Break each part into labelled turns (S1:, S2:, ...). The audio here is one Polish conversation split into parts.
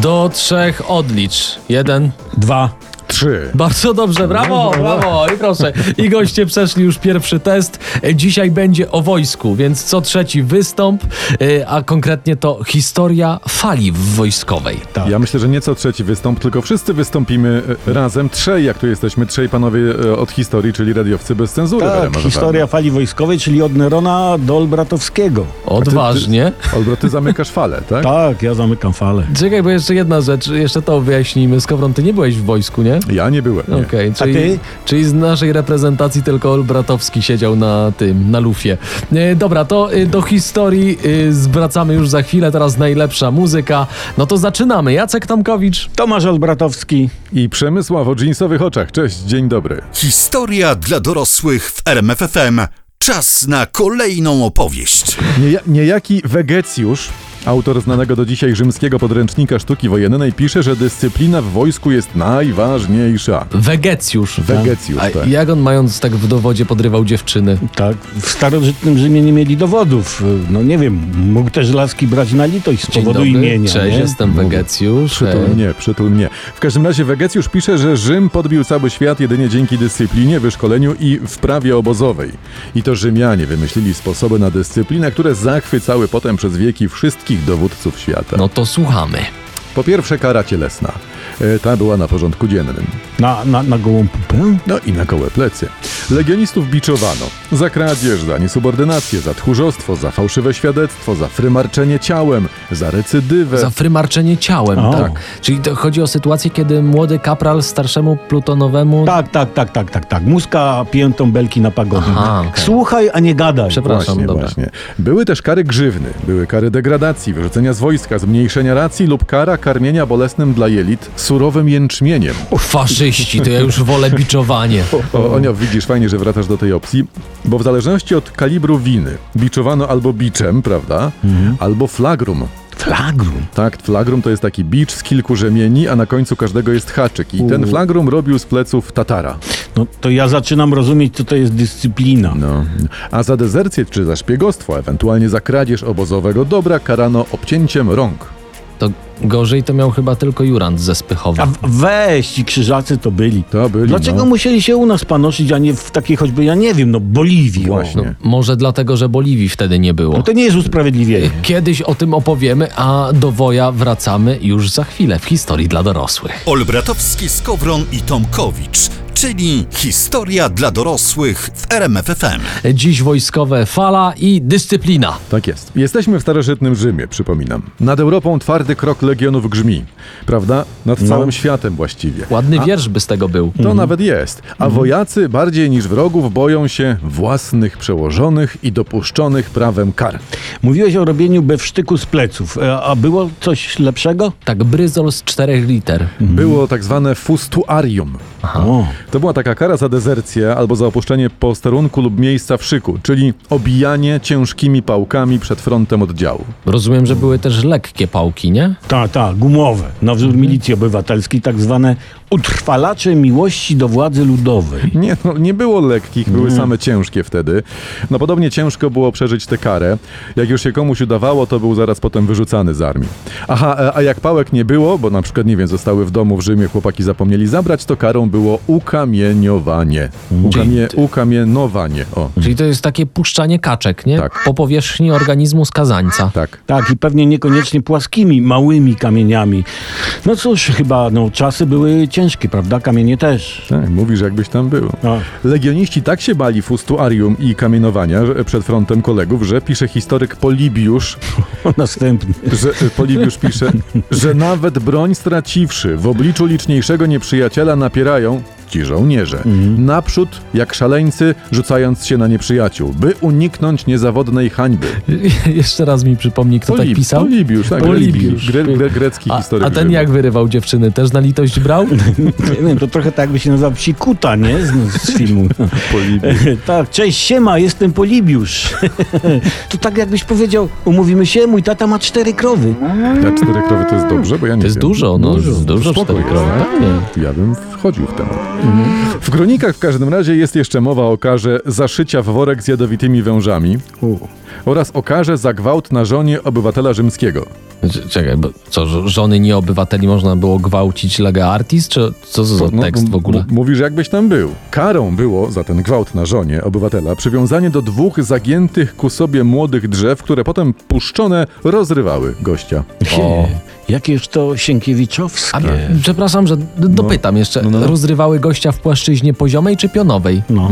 S1: Do trzech odlicz. Jeden.
S2: Dwa.
S3: Trzy.
S1: Bardzo dobrze, brawo, brawo. I proszę. I goście przeszli już pierwszy test. Dzisiaj będzie o wojsku, więc co trzeci wystąp, y, a konkretnie to historia fali wojskowej.
S2: Tak.
S3: Ja myślę, że nie co trzeci wystąp, tylko wszyscy wystąpimy e, razem. Trzej, jak tu jesteśmy, trzej panowie e, od historii, czyli radiowcy bez cenzury. Wera
S2: Tak,
S3: Marzowna.
S2: historia
S1: no.
S2: fali wojskowej, czyli od Nerona do Olbratowskiego.
S1: Odważnie.
S3: Olbro, ty zamykasz falę, tak?
S2: Tak, ja zamykam falę.
S1: Czekaj, bo jeszcze jedna rzecz, jeszcze to wyjaśnijmy. Skowron, ty nie byłeś w wojsku, nie?
S3: Ja nie byłem. Nie.
S1: Okej, czyli,
S2: ty?
S1: czyli z naszej reprezentacji tylko Olbratowski siedział na tym, na lufie. E, dobra, to e, do historii e, zwracamy już za chwilę, teraz najlepsza muzyka. No to zaczynamy. Jacek Tomkowicz.
S2: Tomasz Olbratowski.
S3: I Przemysław o dżinsowych oczach. Cześć, dzień dobry.
S4: Historia dla dorosłych w RMFFM. Czas na kolejną opowieść.
S3: Nieja- niejaki Wegecjusz, autor znanego do dzisiaj rzymskiego podręcznika sztuki wojennej, pisze, że dyscyplina w wojsku jest najważniejsza.
S1: Wegecjusz.
S3: Wegecjusz,
S1: A
S3: tak.
S1: jak on mając tak w dowodzie podrywał dziewczyny?
S2: Tak, w starożytnym Rzymie nie mieli dowodów. No nie wiem, mógł też laski brać na litość z
S1: Dzień
S2: powodu
S1: dobry.
S2: imienia.
S1: Cześć,
S2: nie?
S1: jestem Wegecjusz.
S3: Przytul
S1: E,
S3: mnie, przytul mnie. W każdym razie Wegecjusz pisze, że Rzym podbił cały świat jedynie dzięki dyscyplinie, wyszkoleniu i wprawie obozowej. I to Rzymianie wymyślili sposoby na dyscyplinę, które zachwycały potem przez wieki wszystkich dowódców świata.
S1: No to słuchamy.
S3: Po pierwsze kara cielesna. E, Ta była na porządku dziennym.
S2: Na, na, na gołą pupę?
S3: No i na gołe plecy. Legionistów biczowano. Za kradzież, za niesubordynację, za tchórzostwo, za fałszywe świadectwo, za frymarczenie ciałem, za recydywę.
S1: Za frymarczenie ciałem,
S2: O.
S1: tak. Czyli to chodzi o sytuację, kiedy młody kapral starszemu plutonowemu...
S2: Tak, tak, tak, tak, tak, tak. Muska piętą belki na pagodę.
S1: Aha, okej.
S2: Słuchaj, a nie gadaj.
S1: Przepraszam, dobra.
S3: Były też kary grzywny, były kary degradacji, wyrzucenia z wojska, zmniejszenia racji lub kara karmienia bolesnym dla jelit surowym jęczmieniem.
S1: Faszyści, to ja już wolę biczowanie.
S3: O, Onio, widzisz, fajnie, że wracasz do tej opcji, bo w zależności od kalibru winy biczowano albo biczem, prawda, albo flagrum.
S2: Flagrum.
S3: Tak, flagrum to jest taki bicz z kilku rzemieni, a na końcu każdego jest haczyk. I ten flagrum robił z pleców Tatara.
S2: No to ja zaczynam rozumieć, co to jest dyscyplina.
S3: No. A za dezercję czy za szpiegostwo, ewentualnie za kradzież obozowego dobra, karano obcięciem rąk.
S1: To gorzej to miał chyba tylko Jurand ze Spychowa.
S2: A w- weź, ci krzyżacy to byli.
S3: To byli,
S2: Dlaczego
S3: no.
S2: musieli się u nas panoszyć, a nie w takiej choćby, ja nie wiem, no Boliwii. o.
S3: Właśnie.
S1: Może dlatego, że Boliwii wtedy nie było.
S2: No to nie jest usprawiedliwienie.
S1: Kiedyś o tym opowiemy, a do Woja wracamy już za chwilę w historii dla dorosłych.
S4: Olbratowski, Skowron i Tomkowicz, czyli historia dla dorosłych w RMFFM.
S1: Dziś wojskowe fala i dyscyplina.
S3: Tak jest. Jesteśmy w starożytnym Rzymie, przypominam. Nad Europą twardy krok legionów grzmi, prawda? Nad całym światem właściwie.
S1: Ładny wiersz by z tego był.
S3: To nawet jest. A wojacy bardziej niż wrogów boją się własnych przełożonych i dopuszczonych prawem kar.
S2: Mówiłeś o robieniu bewsztyku z pleców, e, a było coś lepszego?
S1: Tak, bryzol z czterech liter.
S3: Było tak zwane fustuarium.
S2: O.
S3: To była taka kara za dezercję albo za opuszczenie posterunku lub miejsca w szyku, czyli obijanie ciężkimi pałkami przed frontem oddziału.
S1: Rozumiem, że były też lekkie pałki, nie?
S2: Ta, ta, gumowe, na wzór milicji obywatelskiej, tak zwane utrwalacze miłości do władzy ludowej.
S3: Nie, no, nie było lekkich, były same ciężkie wtedy. No podobnie ciężko było przeżyć tę karę. Jak już się komuś udawało, to był zaraz potem wyrzucany z armii. Aha, e, a jak pałek nie było, bo na przykład, nie wiem, zostały w domu w Rzymie, chłopaki zapomnieli zabrać, to karą było ukamieniowanie. Ukamie, ukamienowanie, o.
S1: Czyli to jest takie puszczanie kaczek, nie?
S3: Tak.
S1: Po powierzchni organizmu skazańca.
S3: Tak.
S2: Tak, i pewnie niekoniecznie płaskimi, małymi kamieniami. No cóż, chyba no, czasy były ciężkie, prawda? Kamienie też.
S3: Tak, mówisz jakbyś tam był.
S2: A.
S3: Legioniści tak się bali fustuarium i kamienowania że- przed frontem kolegów, że pisze historyk Polibiusz,
S2: O, następny.
S3: że, Polibiusz pisze, że nawet broń straciwszy w obliczu liczniejszego nieprzyjaciela napierają ci żołnierze
S1: Mhm.
S3: naprzód jak szaleńcy rzucając się na nieprzyjaciół, by uniknąć niezawodnej hańby.
S1: Jeszcze raz mi przypomnij, kto tak
S3: Polib-
S1: pisał.
S3: Polibiusz, tak,
S1: Polibiusz.
S3: Gre, gre, grecki
S1: A,
S3: historyk.
S1: a ten
S3: Rzymu.
S1: jak wyrywał dziewczyny? Też na litość brał?
S2: Nie wiem, to trochę tak by się nazywał psikuta, nie? Z, z filmu.
S3: Polibiusz.
S2: tak, cześć, siema, jestem Polibiusz. to tak jakbyś powiedział, umówimy się, mój tata ma cztery krowy.
S3: Dla cztery krowy to jest dobrze, bo ja nie
S1: To jest
S3: wiem.
S1: dużo, no dużo, dużo
S3: Spoko
S1: cztery
S3: jest,
S1: krowy. Mhm.
S3: tak?
S1: Pewnie.
S3: Ja bym wchodził w temat. W kronikach w każdym razie jest jeszcze mowa o karze zaszycia w worek z jadowitymi wężami, oraz o karze za gwałt na żonie obywatela rzymskiego.
S1: C- Znaczy, Czekaj, bo co, ż- żony nieobywateli można było gwałcić lega artis, czy co za
S3: No,
S1: tekst w ogóle?
S3: m- Mówisz, jakbyś tam był. Karą było za ten gwałt na żonie obywatela przywiązanie do dwóch zagiętych ku sobie młodych drzew, które potem puszczone rozrywały gościa.
S1: O.
S2: Jakież to Sienkiewiczowskie.
S1: A, przepraszam, że d- dopytam jeszcze.
S3: tak. no, no.
S1: Rozrywały gościa w płaszczyźnie poziomej czy pionowej?
S2: No.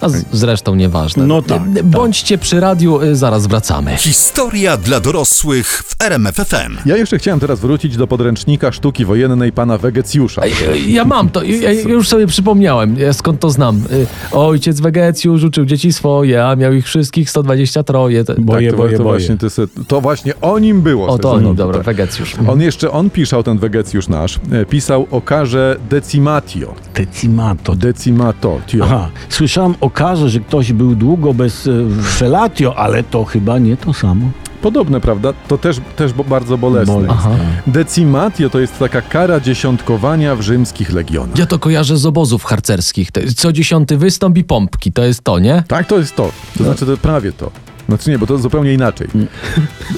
S1: A z, zresztą nieważne.
S2: No tak,
S1: Y, y, Bądźcie przy radiu, y, zaraz wracamy.
S4: Historia dla dorosłych w RMFFM.
S3: Ja jeszcze chciałem teraz wrócić do podręcznika sztuki wojennej pana Wegecjusza.
S1: Ja- Ja mam to, ja ja już sobie przypomniałem, ja skąd to znam. Y, Ojciec Wegecjusz uczył dzieci swoje, a miał ich wszystkich 123. Te-
S2: Boję,
S3: Tak, to,
S2: boję,
S3: to,
S2: boję.
S3: Właśnie, ty se, to właśnie o nim było.
S1: O to,
S3: Se-
S1: no,
S3: no,
S1: dobra,
S3: tak.
S1: Wegecjusz.
S3: On jeszcze, on piszał, ten Wegecjusz nasz, e, pisał o karze decimatio.
S2: Decimato.
S3: Decimato. tio.
S2: Aha, słyszałem o karze, że ktoś był długo bez e, felatio, ale to chyba nie to samo.
S3: Podobne, prawda? To też, też bo- bardzo bolesne.
S2: Bolesne.
S1: Aha.
S3: Decimatio to jest taka kara dziesiątkowania w rzymskich legionach.
S1: Ja to kojarzę z obozów harcerskich. To jest Co dziesiąty wystąp i pompki, to jest to, nie?
S3: Tak, to jest to. To znaczy, to prawie to. Znaczy nie, bo to zupełnie inaczej.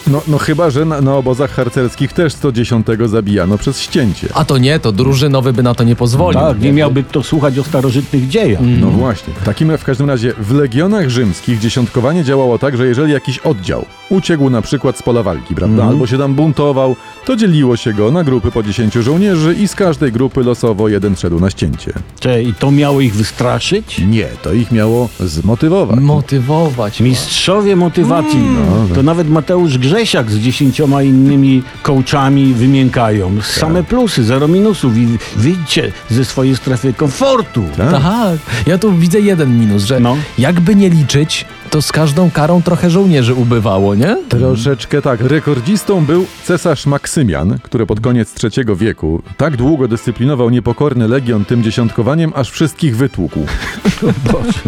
S3: No, no chyba, że na, na obozach harcerskich też 110 zabijano no przez ścięcie.
S1: A to nie, to drużynowy by na to nie pozwolił.
S2: Tak, nie Mm. miałby kto słuchać o starożytnych dziejach.
S3: No właśnie. W takim w każdym razie w legionach rzymskich dziesiątkowanie działało tak, że jeżeli jakiś oddział uciekł na przykład z pola walki, prawda, albo się tam buntował, to dzieliło się go na grupy po 10 żołnierzy i z każdej grupy losowo jeden szedł na ścięcie.
S2: Cze, I to miało ich wystraszyć?
S3: Nie, to ich miało zmotywować.
S1: Motywować.
S2: Mistrzowie motywacji. no, To nawet Mateusz Grzesiak z dziesięcioma innymi kołczami wymiękają. Same plusy, zero minusów. I wyjdźcie ze swojej strefy komfortu.
S1: Tak, ja tu widzę jeden minus, że
S2: No.
S1: jakby nie liczyć, to z każdą karą trochę żołnierzy ubywało, nie?
S3: Troszeczkę tak. Rekordzistą był cesarz Maksymian, który pod koniec III wieku tak długo dyscyplinował niepokorny legion tym dziesiątkowaniem, aż wszystkich wytłukł.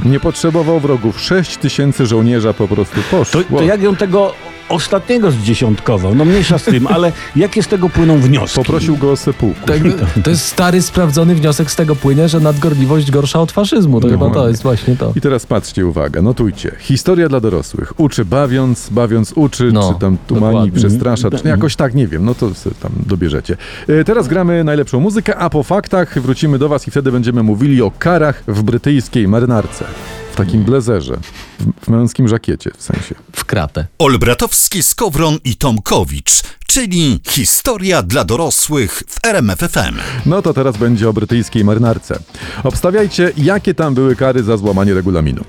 S3: Nie potrzebował wrogów. 6 tysięcy żołnierza po prostu
S2: To,
S3: poszło.
S2: to jak ją tego ostatniego zdziesiątkował? No mniejsza z tym, ale jakie z tego płyną wnioski?
S3: Poprosił go o sepułku.
S2: no
S1: Tak, to jest stary, sprawdzony wniosek z tego płynie, że nadgorliwość gorsza od faszyzmu. To chyba to
S3: Dokładnie.
S1: jest właśnie to.
S3: I teraz patrzcie, uwaga, notujcie. Historia dla dorosłych. Uczy bawiąc, bawiąc uczy,
S1: No,
S3: czy tam tumani,
S1: dokładnie.
S3: przestrasza, czy jakoś tak, nie wiem, no to sobie tam dobierzecie. E, Teraz gramy najlepszą muzykę, a po faktach wrócimy do was i wtedy będziemy mówili o karach w brytyjskiej marynarce. W takim blezerze, w, w męskim żakiecie w sensie.
S1: W kratę.
S4: Olbratowski, Skowron i Tomkowicz, czyli historia dla dorosłych w RMFFM.
S3: No to teraz będzie o brytyjskiej marynarce. Obstawiajcie, jakie tam były kary za złamanie regulaminu.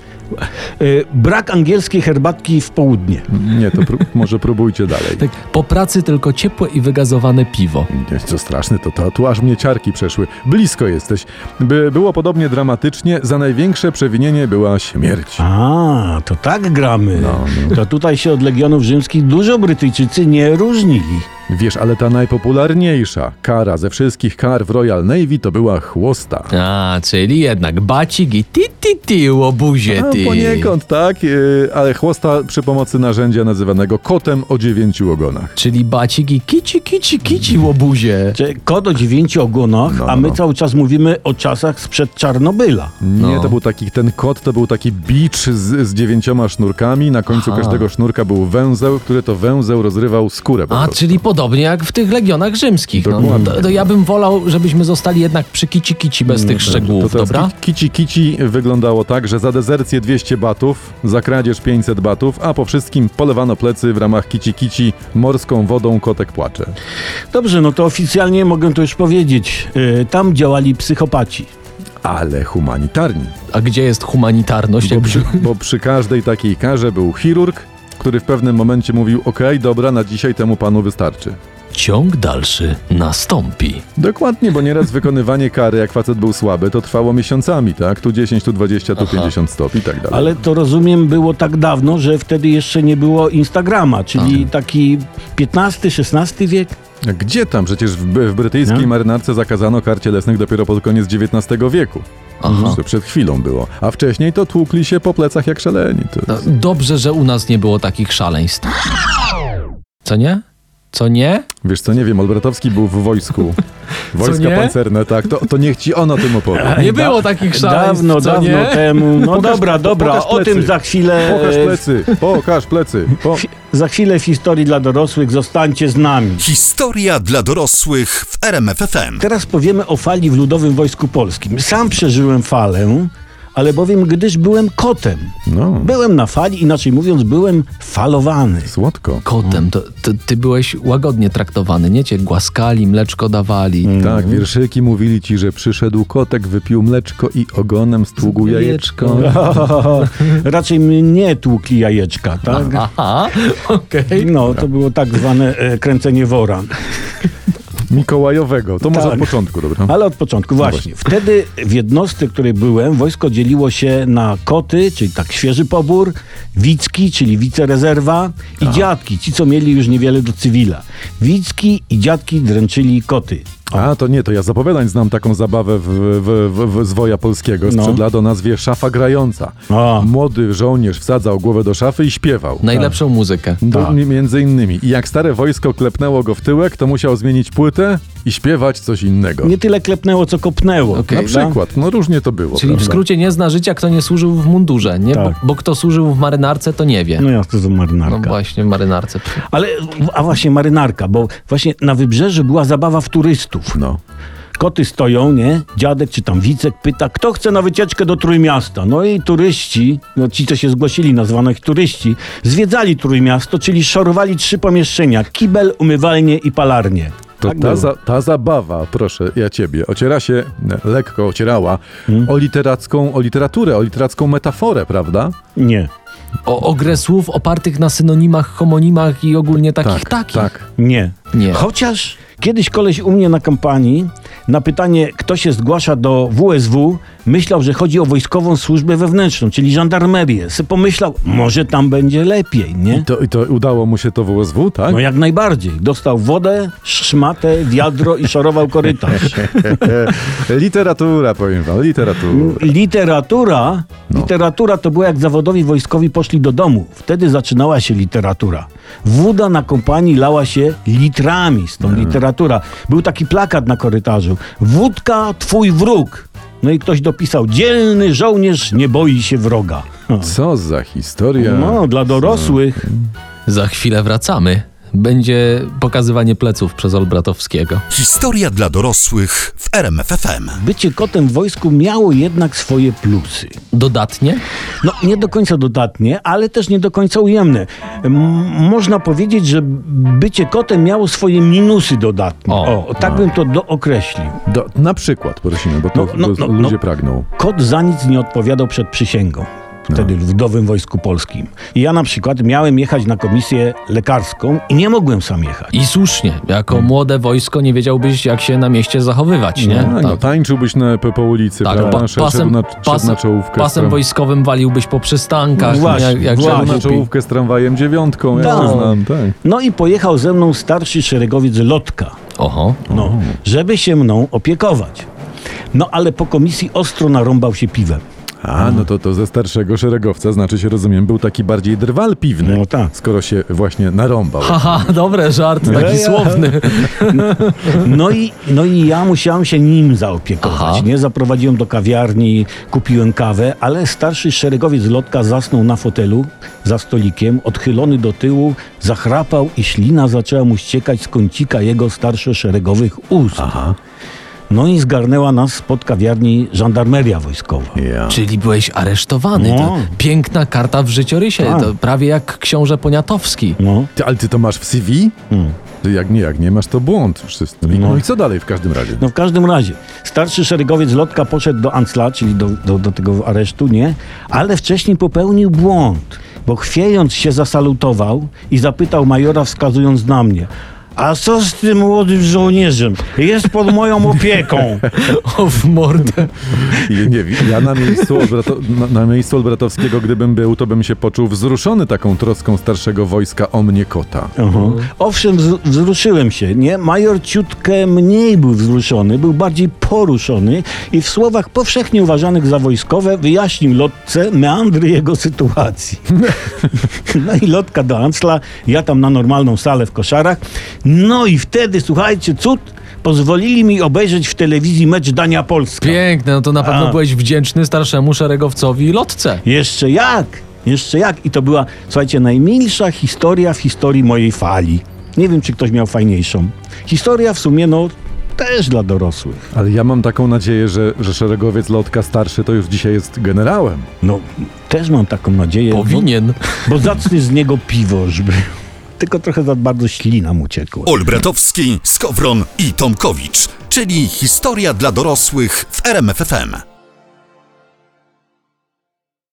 S2: Y, Brak angielskiej herbatki w południe.
S3: Nie, to pró- może próbujcie dalej.
S1: Tak, po pracy tylko ciepłe i wygazowane piwo.
S3: Nie, Co straszne, to, to tu aż mnie ciarki przeszły. Blisko jesteś. By było podobnie dramatycznie, za największe przewinienie była śmierć.
S2: A, to tak gramy. To tutaj się od legionów rzymskich dużo Brytyjczycy nie różnili.
S3: Wiesz, ale ta najpopularniejsza kara ze wszystkich kar w Royal Navy to była chłosta.
S1: A, czyli jednak bacik i ti ti ti łobuzie
S3: No,
S1: ty.
S3: poniekąd tak, yy, ale chłosta przy pomocy narzędzia nazywanego kotem o dziewięciu ogonach.
S1: Czyli bacik i kici kici kici łobuzie.
S2: Czy Kod o dziewięciu ogonach,
S3: No,
S2: a my
S3: no.
S2: cały czas mówimy o czasach sprzed Czarnobyla.
S1: No.
S3: Nie, to był taki, ten kot to był taki bicz z, z dziewięcioma sznurkami, na końcu
S1: Aha.
S3: każdego sznurka był węzeł, który to węzeł rozrywał skórę. po
S1: A,
S3: prostu.
S1: czyli podobnie jak w tych legionach rzymskich. No, no,
S3: Dokładnie.
S1: to, to ja bym wolał, żebyśmy zostali jednak przy kici kici bez tych szczegółów,
S3: Mm, To teraz
S1: dobra?
S3: ki- Kici kici wyglądało tak, że za dezercję 200 batów, za kradzież 500 batów, a po wszystkim polewano plecy w ramach kici kici morską wodą kotek płacze.
S2: Dobrze, no to oficjalnie mogę to już powiedzieć. Y, Tam działali psychopaci.
S3: Ale humanitarni,
S1: A gdzie jest humanitarność?
S3: bo
S1: Jakby...
S3: przy, bo przy każdej takiej karze był chirurg, który w pewnym momencie mówił, okej, dobra, na dzisiaj temu panu wystarczy.
S1: Ciąg dalszy nastąpi.
S3: Dokładnie, bo nieraz wykonywanie kary, jak facet był słaby, to trwało miesiącami, tak? Tu 10, tu 20, tu 50 stop i tak dalej.
S2: Ale to rozumiem było tak dawno, że wtedy jeszcze nie było Instagrama, czyli
S3: Tak.
S2: taki XV-XVI wiek.
S3: Gdzie tam? Przecież w, w brytyjskiej
S2: No.
S3: marynarce zakazano kar cielesnych dopiero pod koniec XIX wieku.
S2: No.
S1: Aha.
S3: To przed chwilą było. A wcześniej to tłukli się po plecach jak
S2: No.
S3: szaleni. To...
S1: No, Dobrze, że u nas nie było takich szaleństw. Co nie? Co nie?
S3: Wiesz co, nie wiem, Olbratowski był w wojsku. Wojska
S1: nie?
S3: pancerne, tak. To, to niech ci on o tym opowie.
S1: Nie było takich szaleństw,
S2: Dawno,
S1: co
S2: dawno
S1: nie?
S2: temu. No
S3: Pokaż-
S2: dobra, dobra,
S3: pokaż
S2: o
S3: plecy.
S2: tym za chwilę.
S3: Pokaż plecy, pokaż plecy. Po...
S2: Fi- Za chwilę w historii dla dorosłych zostańcie z nami.
S4: Historia dla dorosłych w RMFFM.
S2: Teraz powiemy o fali w Ludowym Wojsku Polskim. Sam przeżyłem falę, ale bowiem gdyż byłem kotem.
S3: No,
S2: Byłem na fali, inaczej mówiąc, byłem falowany.
S3: słodko.
S1: Kotem, to, to ty byłeś łagodnie traktowany, nie? Cię głaskali, mleczko dawali.
S2: Mm.
S3: Tak, wierszyki mówili ci, że przyszedł kotek, wypił mleczko i ogonem stługł jajeczko.
S2: Raczej mnie tłukli jajeczka, tak?
S1: Aha, okej.
S2: No, to było tak zwane e, kręcenie wora.
S3: Mikołajowego. To może
S2: Tak.
S3: od początku, dobra?
S2: Ale od początku, właśnie. Wtedy w jednostce, w której byłem, wojsko dzieliło się na koty, czyli tak świeży pobór, wicki, czyli wicerezerwa i dziadki, ci co mieli już niewiele do cywila. Wicki i dziadki dręczyli koty.
S3: A, to nie, to ja z opowiadań znam taką zabawę w, w, w, w zwoja polskiego sprzed
S2: No.
S3: lat o nazwie Szafa Grająca.
S2: A.
S3: Młody żołnierz wsadzał głowę do szafy i śpiewał.
S1: Najlepszą muzykę.
S3: To
S2: Tak.
S3: mi- Między innymi. I jak stare wojsko klepnęło go w tyłek, to musiał zmienić płytę i śpiewać coś innego.
S2: Nie tyle klepnęło, co kopnęło.
S1: Okej.
S3: Na
S2: prawda?
S3: przykład. No różnie to było.
S1: Czyli w
S3: prawda?
S1: skrócie nie zna życia, kto nie służył w mundurze, nie?
S2: Tak.
S1: Bo, bo kto służył w marynarce, to nie wie.
S2: No ja to za
S1: No
S3: tak.
S2: marynarka.
S1: właśnie, w marynarce.
S2: Ale, a właśnie marynarka, bo właśnie na wybrzeżu była zabawa w turystów.
S3: No.
S2: Koty stoją, nie? Dziadek czy tam wicek pyta, kto chce na wycieczkę do Trójmiasta? No i turyści, no ci, co się zgłosili, nazwano ich turyści, zwiedzali Trójmiasto, czyli szorowali trzy pomieszczenia. Kibel, umywalnię i palarnię.
S3: To
S2: Tak
S3: ta,
S2: było.
S3: za, ta zabawa, proszę ja ciebie, ociera się, ne, lekko ocierała,
S2: Hmm.
S3: o literacką, o literaturę, o literacką metaforę, prawda?
S2: Nie,
S1: O, o grę słów opartych na synonimach, homonimach i ogólnie takich takich.
S3: tak.
S2: nie.
S1: Nie.
S2: Chociaż kiedyś koleś u mnie na kampanii na pytanie, kto się zgłasza do WSW, myślał, że chodzi o wojskową służbę wewnętrzną, czyli żandarmerię. Se pomyślał, może tam będzie lepiej, nie?
S3: I tak. to, I to udało mu się to WSW, tak?
S2: No jak najbardziej. Dostał wodę, szmatę, wiadro i szorował korytarz.
S3: E, literatura, powiem wam,
S2: No.
S3: literatura.
S2: Literatura, literatura to było jak zawodowi wojskowi poszli do domu. Wtedy zaczynała się literatura. Woda na kompanii lała się litrami z tą literatura. Był taki plakat na korytarzu. Wódka twój wróg. No i ktoś dopisał, dzielny żołnierz nie boi się wroga.
S3: Co za historia.
S2: No, dla dorosłych.
S1: Za chwilę wracamy. Będzie pokazywanie pleców przez Olbratowskiego.
S4: Historia dla dorosłych w RMFFM.
S2: Bycie kotem w wojsku miało jednak swoje plusy.
S1: Dodatnie?
S2: No, nie do końca dodatnie, ale też nie do końca ujemne. M- można powiedzieć, że bycie kotem miało swoje minusy dodatnie.
S1: O.
S2: O, tak bym to dookreślił.
S3: Do, na przykład, prosimy, bo to,
S2: No, no,
S3: to
S2: no,
S3: ludzie
S2: no.
S3: pragną.
S2: Kot za nic nie odpowiadał przed przysięgą. Wtedy
S3: No.
S2: w Ludowym Wojsku Polskim. I ja na przykład miałem jechać na komisję lekarską i nie mogłem sam jechać.
S1: I słusznie. Jako
S3: Hmm.
S1: młode wojsko nie wiedziałbyś, jak się na mieście zachowywać, nie?
S3: Tak, no, tańczyłbyś na, po, po ulicy,
S1: Tak,
S3: prawda?
S1: pa-
S3: Szedł
S1: pasem,
S3: na, szedł
S1: pasem,
S3: na czołówkę. z
S1: pasem
S3: tram-
S1: wojskowym waliłbyś po przystankach.
S2: Właśnie,
S1: jak, jak
S3: Szedł
S2: właśnie.
S3: na czołówkę z tramwajem dziewiątką, ja to
S2: Tak.
S3: znam, tak.
S2: No i pojechał ze mną starszy szeregowiec Lotka.
S1: Oho.
S2: No, żeby się mną opiekować. No ale po komisji ostro narąbał się piwem.
S3: A, no to to ze starszego szeregowca, znaczy się rozumiem, był taki bardziej drwal piwny,
S2: No tak.
S3: skoro się właśnie narąbał.
S1: Haha, dobre, żart, taki
S2: Ja-
S1: słowny.
S2: No i, no i ja musiałem się nim zaopiekować.
S1: Aha.
S2: Nie zaprowadziłem do kawiarni, kupiłem kawę, ale starszy szeregowiec lotka zasnął na fotelu za stolikiem, odchylony do tyłu, zachrapał i ślina zaczęła mu ściekać z kącika jego starszoszeregowych ust. No i zgarnęła nas spod kawiarni żandarmeria wojskowa.
S3: Ja.
S1: Czyli byłeś aresztowany. To
S2: No.
S1: piękna karta w życiorysie.
S2: Tak.
S1: To prawie jak książę Poniatowski.
S2: No.
S3: Ty, ale ty to masz w CV? Ty jak nie, jak nie masz, to błąd. Wszyscy. No.
S2: Hmm. No.
S3: i co dalej w każdym razie?
S2: No w każdym razie, starszy szeregowiec Lotka poszedł do Ancla, czyli do, do, do tego aresztu, nie? Ale wcześniej popełnił błąd, bo chwiejąc się zasalutował i zapytał majora wskazując na mnie. A co z tym młodym żołnierzem? Jest pod moją opieką.
S1: O, w mordę.
S3: I nie wiem, ja na miejscu, Olbrato- na, na miejscu Olbratowskiego, gdybym był, to bym się poczuł wzruszony taką troską starszego wojska o mnie kota.
S2: Owszem, wz- wzruszyłem się, nie? Major ciutkę mniej był wzruszony, był bardziej poruszony i w słowach powszechnie uważanych za wojskowe wyjaśnił Lotce meandry jego sytuacji. No i Lotka do Ancla, ja tam na normalną salę w koszarach. No i wtedy, słuchajcie, cud, pozwolili mi obejrzeć w telewizji mecz Dania-Polska.
S1: Piękne, no to na pewno
S2: A.
S1: byłeś wdzięczny starszemu szeregowcowi lotce.
S2: Jeszcze jak, jeszcze jak. I to była, słuchajcie, najmilsza historia w historii mojej fali. Nie wiem, czy ktoś miał fajniejszą. Historia w sumie, no, też dla dorosłych.
S3: Ale ja mam taką nadzieję, że, że szeregowiec Lotka starszy to już dzisiaj jest generałem.
S2: No, też mam taką nadzieję. bo-
S1: Powinien.
S2: Bo zacnie z niego piwo, żeby... Tylko trochę za bardzo ślina mu ciekła.
S4: Olbratowski, Skowron i Tomkowicz, czyli historia dla dorosłych w RMFFM.